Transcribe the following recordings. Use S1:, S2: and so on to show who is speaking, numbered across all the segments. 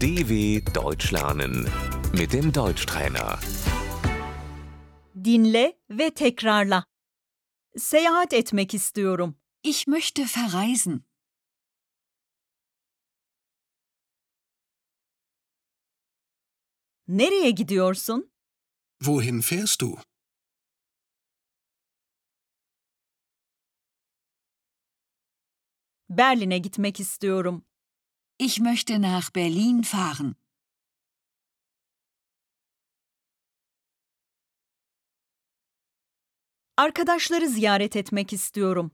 S1: DW Deutsch lernen mit dem Deutschtrainer.
S2: Dinle ve tekrarla. Seyahat etmek istiyorum.
S3: Ich möchte verreisen.
S2: Nereye gidiyorsun?
S4: Wohin fährst du?
S2: Berlin'e gitmek istiyorum.
S3: Ich möchte nach Berlin fahren.
S2: Arkadaşları ziyaret etmek istiyorum.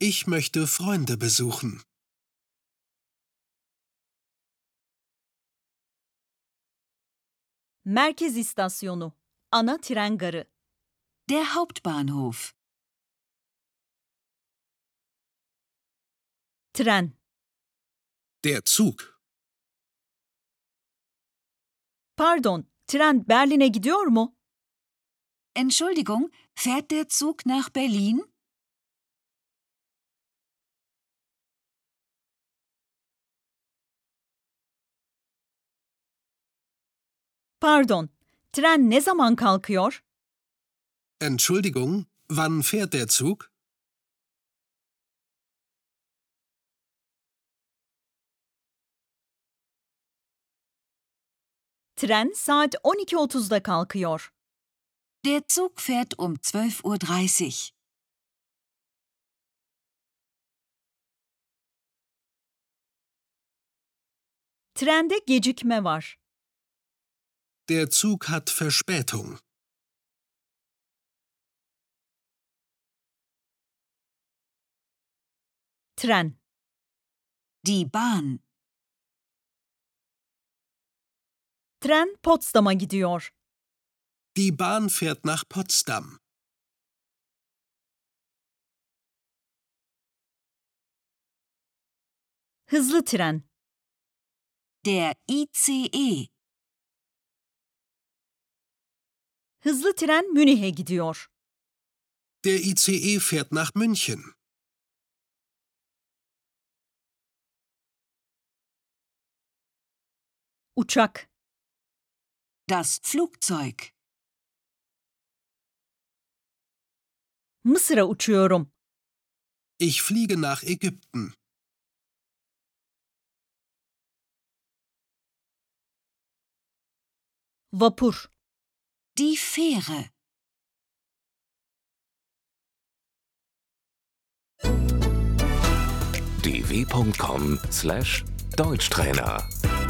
S4: Ich möchte Freunde besuchen.
S2: Merkez istasyonu. Ana tren garı.
S3: Der Hauptbahnhof.
S2: Tren.
S4: Der Zug.
S2: Pardon, tren Berlin'e gidiyor mu?
S3: Entschuldigung, fährt der Zug nach Berlin?
S2: Pardon, tren ne zaman kalkıyor?
S4: Entschuldigung, wann fährt der Zug?
S2: Tren saat 12.30'da kalkıyor.
S3: Der Zug fährt um 12.30 Uhr.
S2: Trende gecikme var.
S4: Der Zug hat Verspätung.
S2: Tren.
S3: Die Bahn.
S2: Tren Potsdam'a gidiyor.
S4: Die Bahn fährt nach Potsdam.
S2: Hızlı tren.
S3: Der E. ICE.
S2: Hızlı tren Münih'e gidiyor.
S4: Der ICE fährt nach München.
S2: Uçak.
S3: Das Flugzeug.
S2: Mısır'a uçuyorum.
S4: Ich fliege nach Ägypten.
S2: Vapur.
S3: Die Fähre.
S1: dw.com/deutschtrainer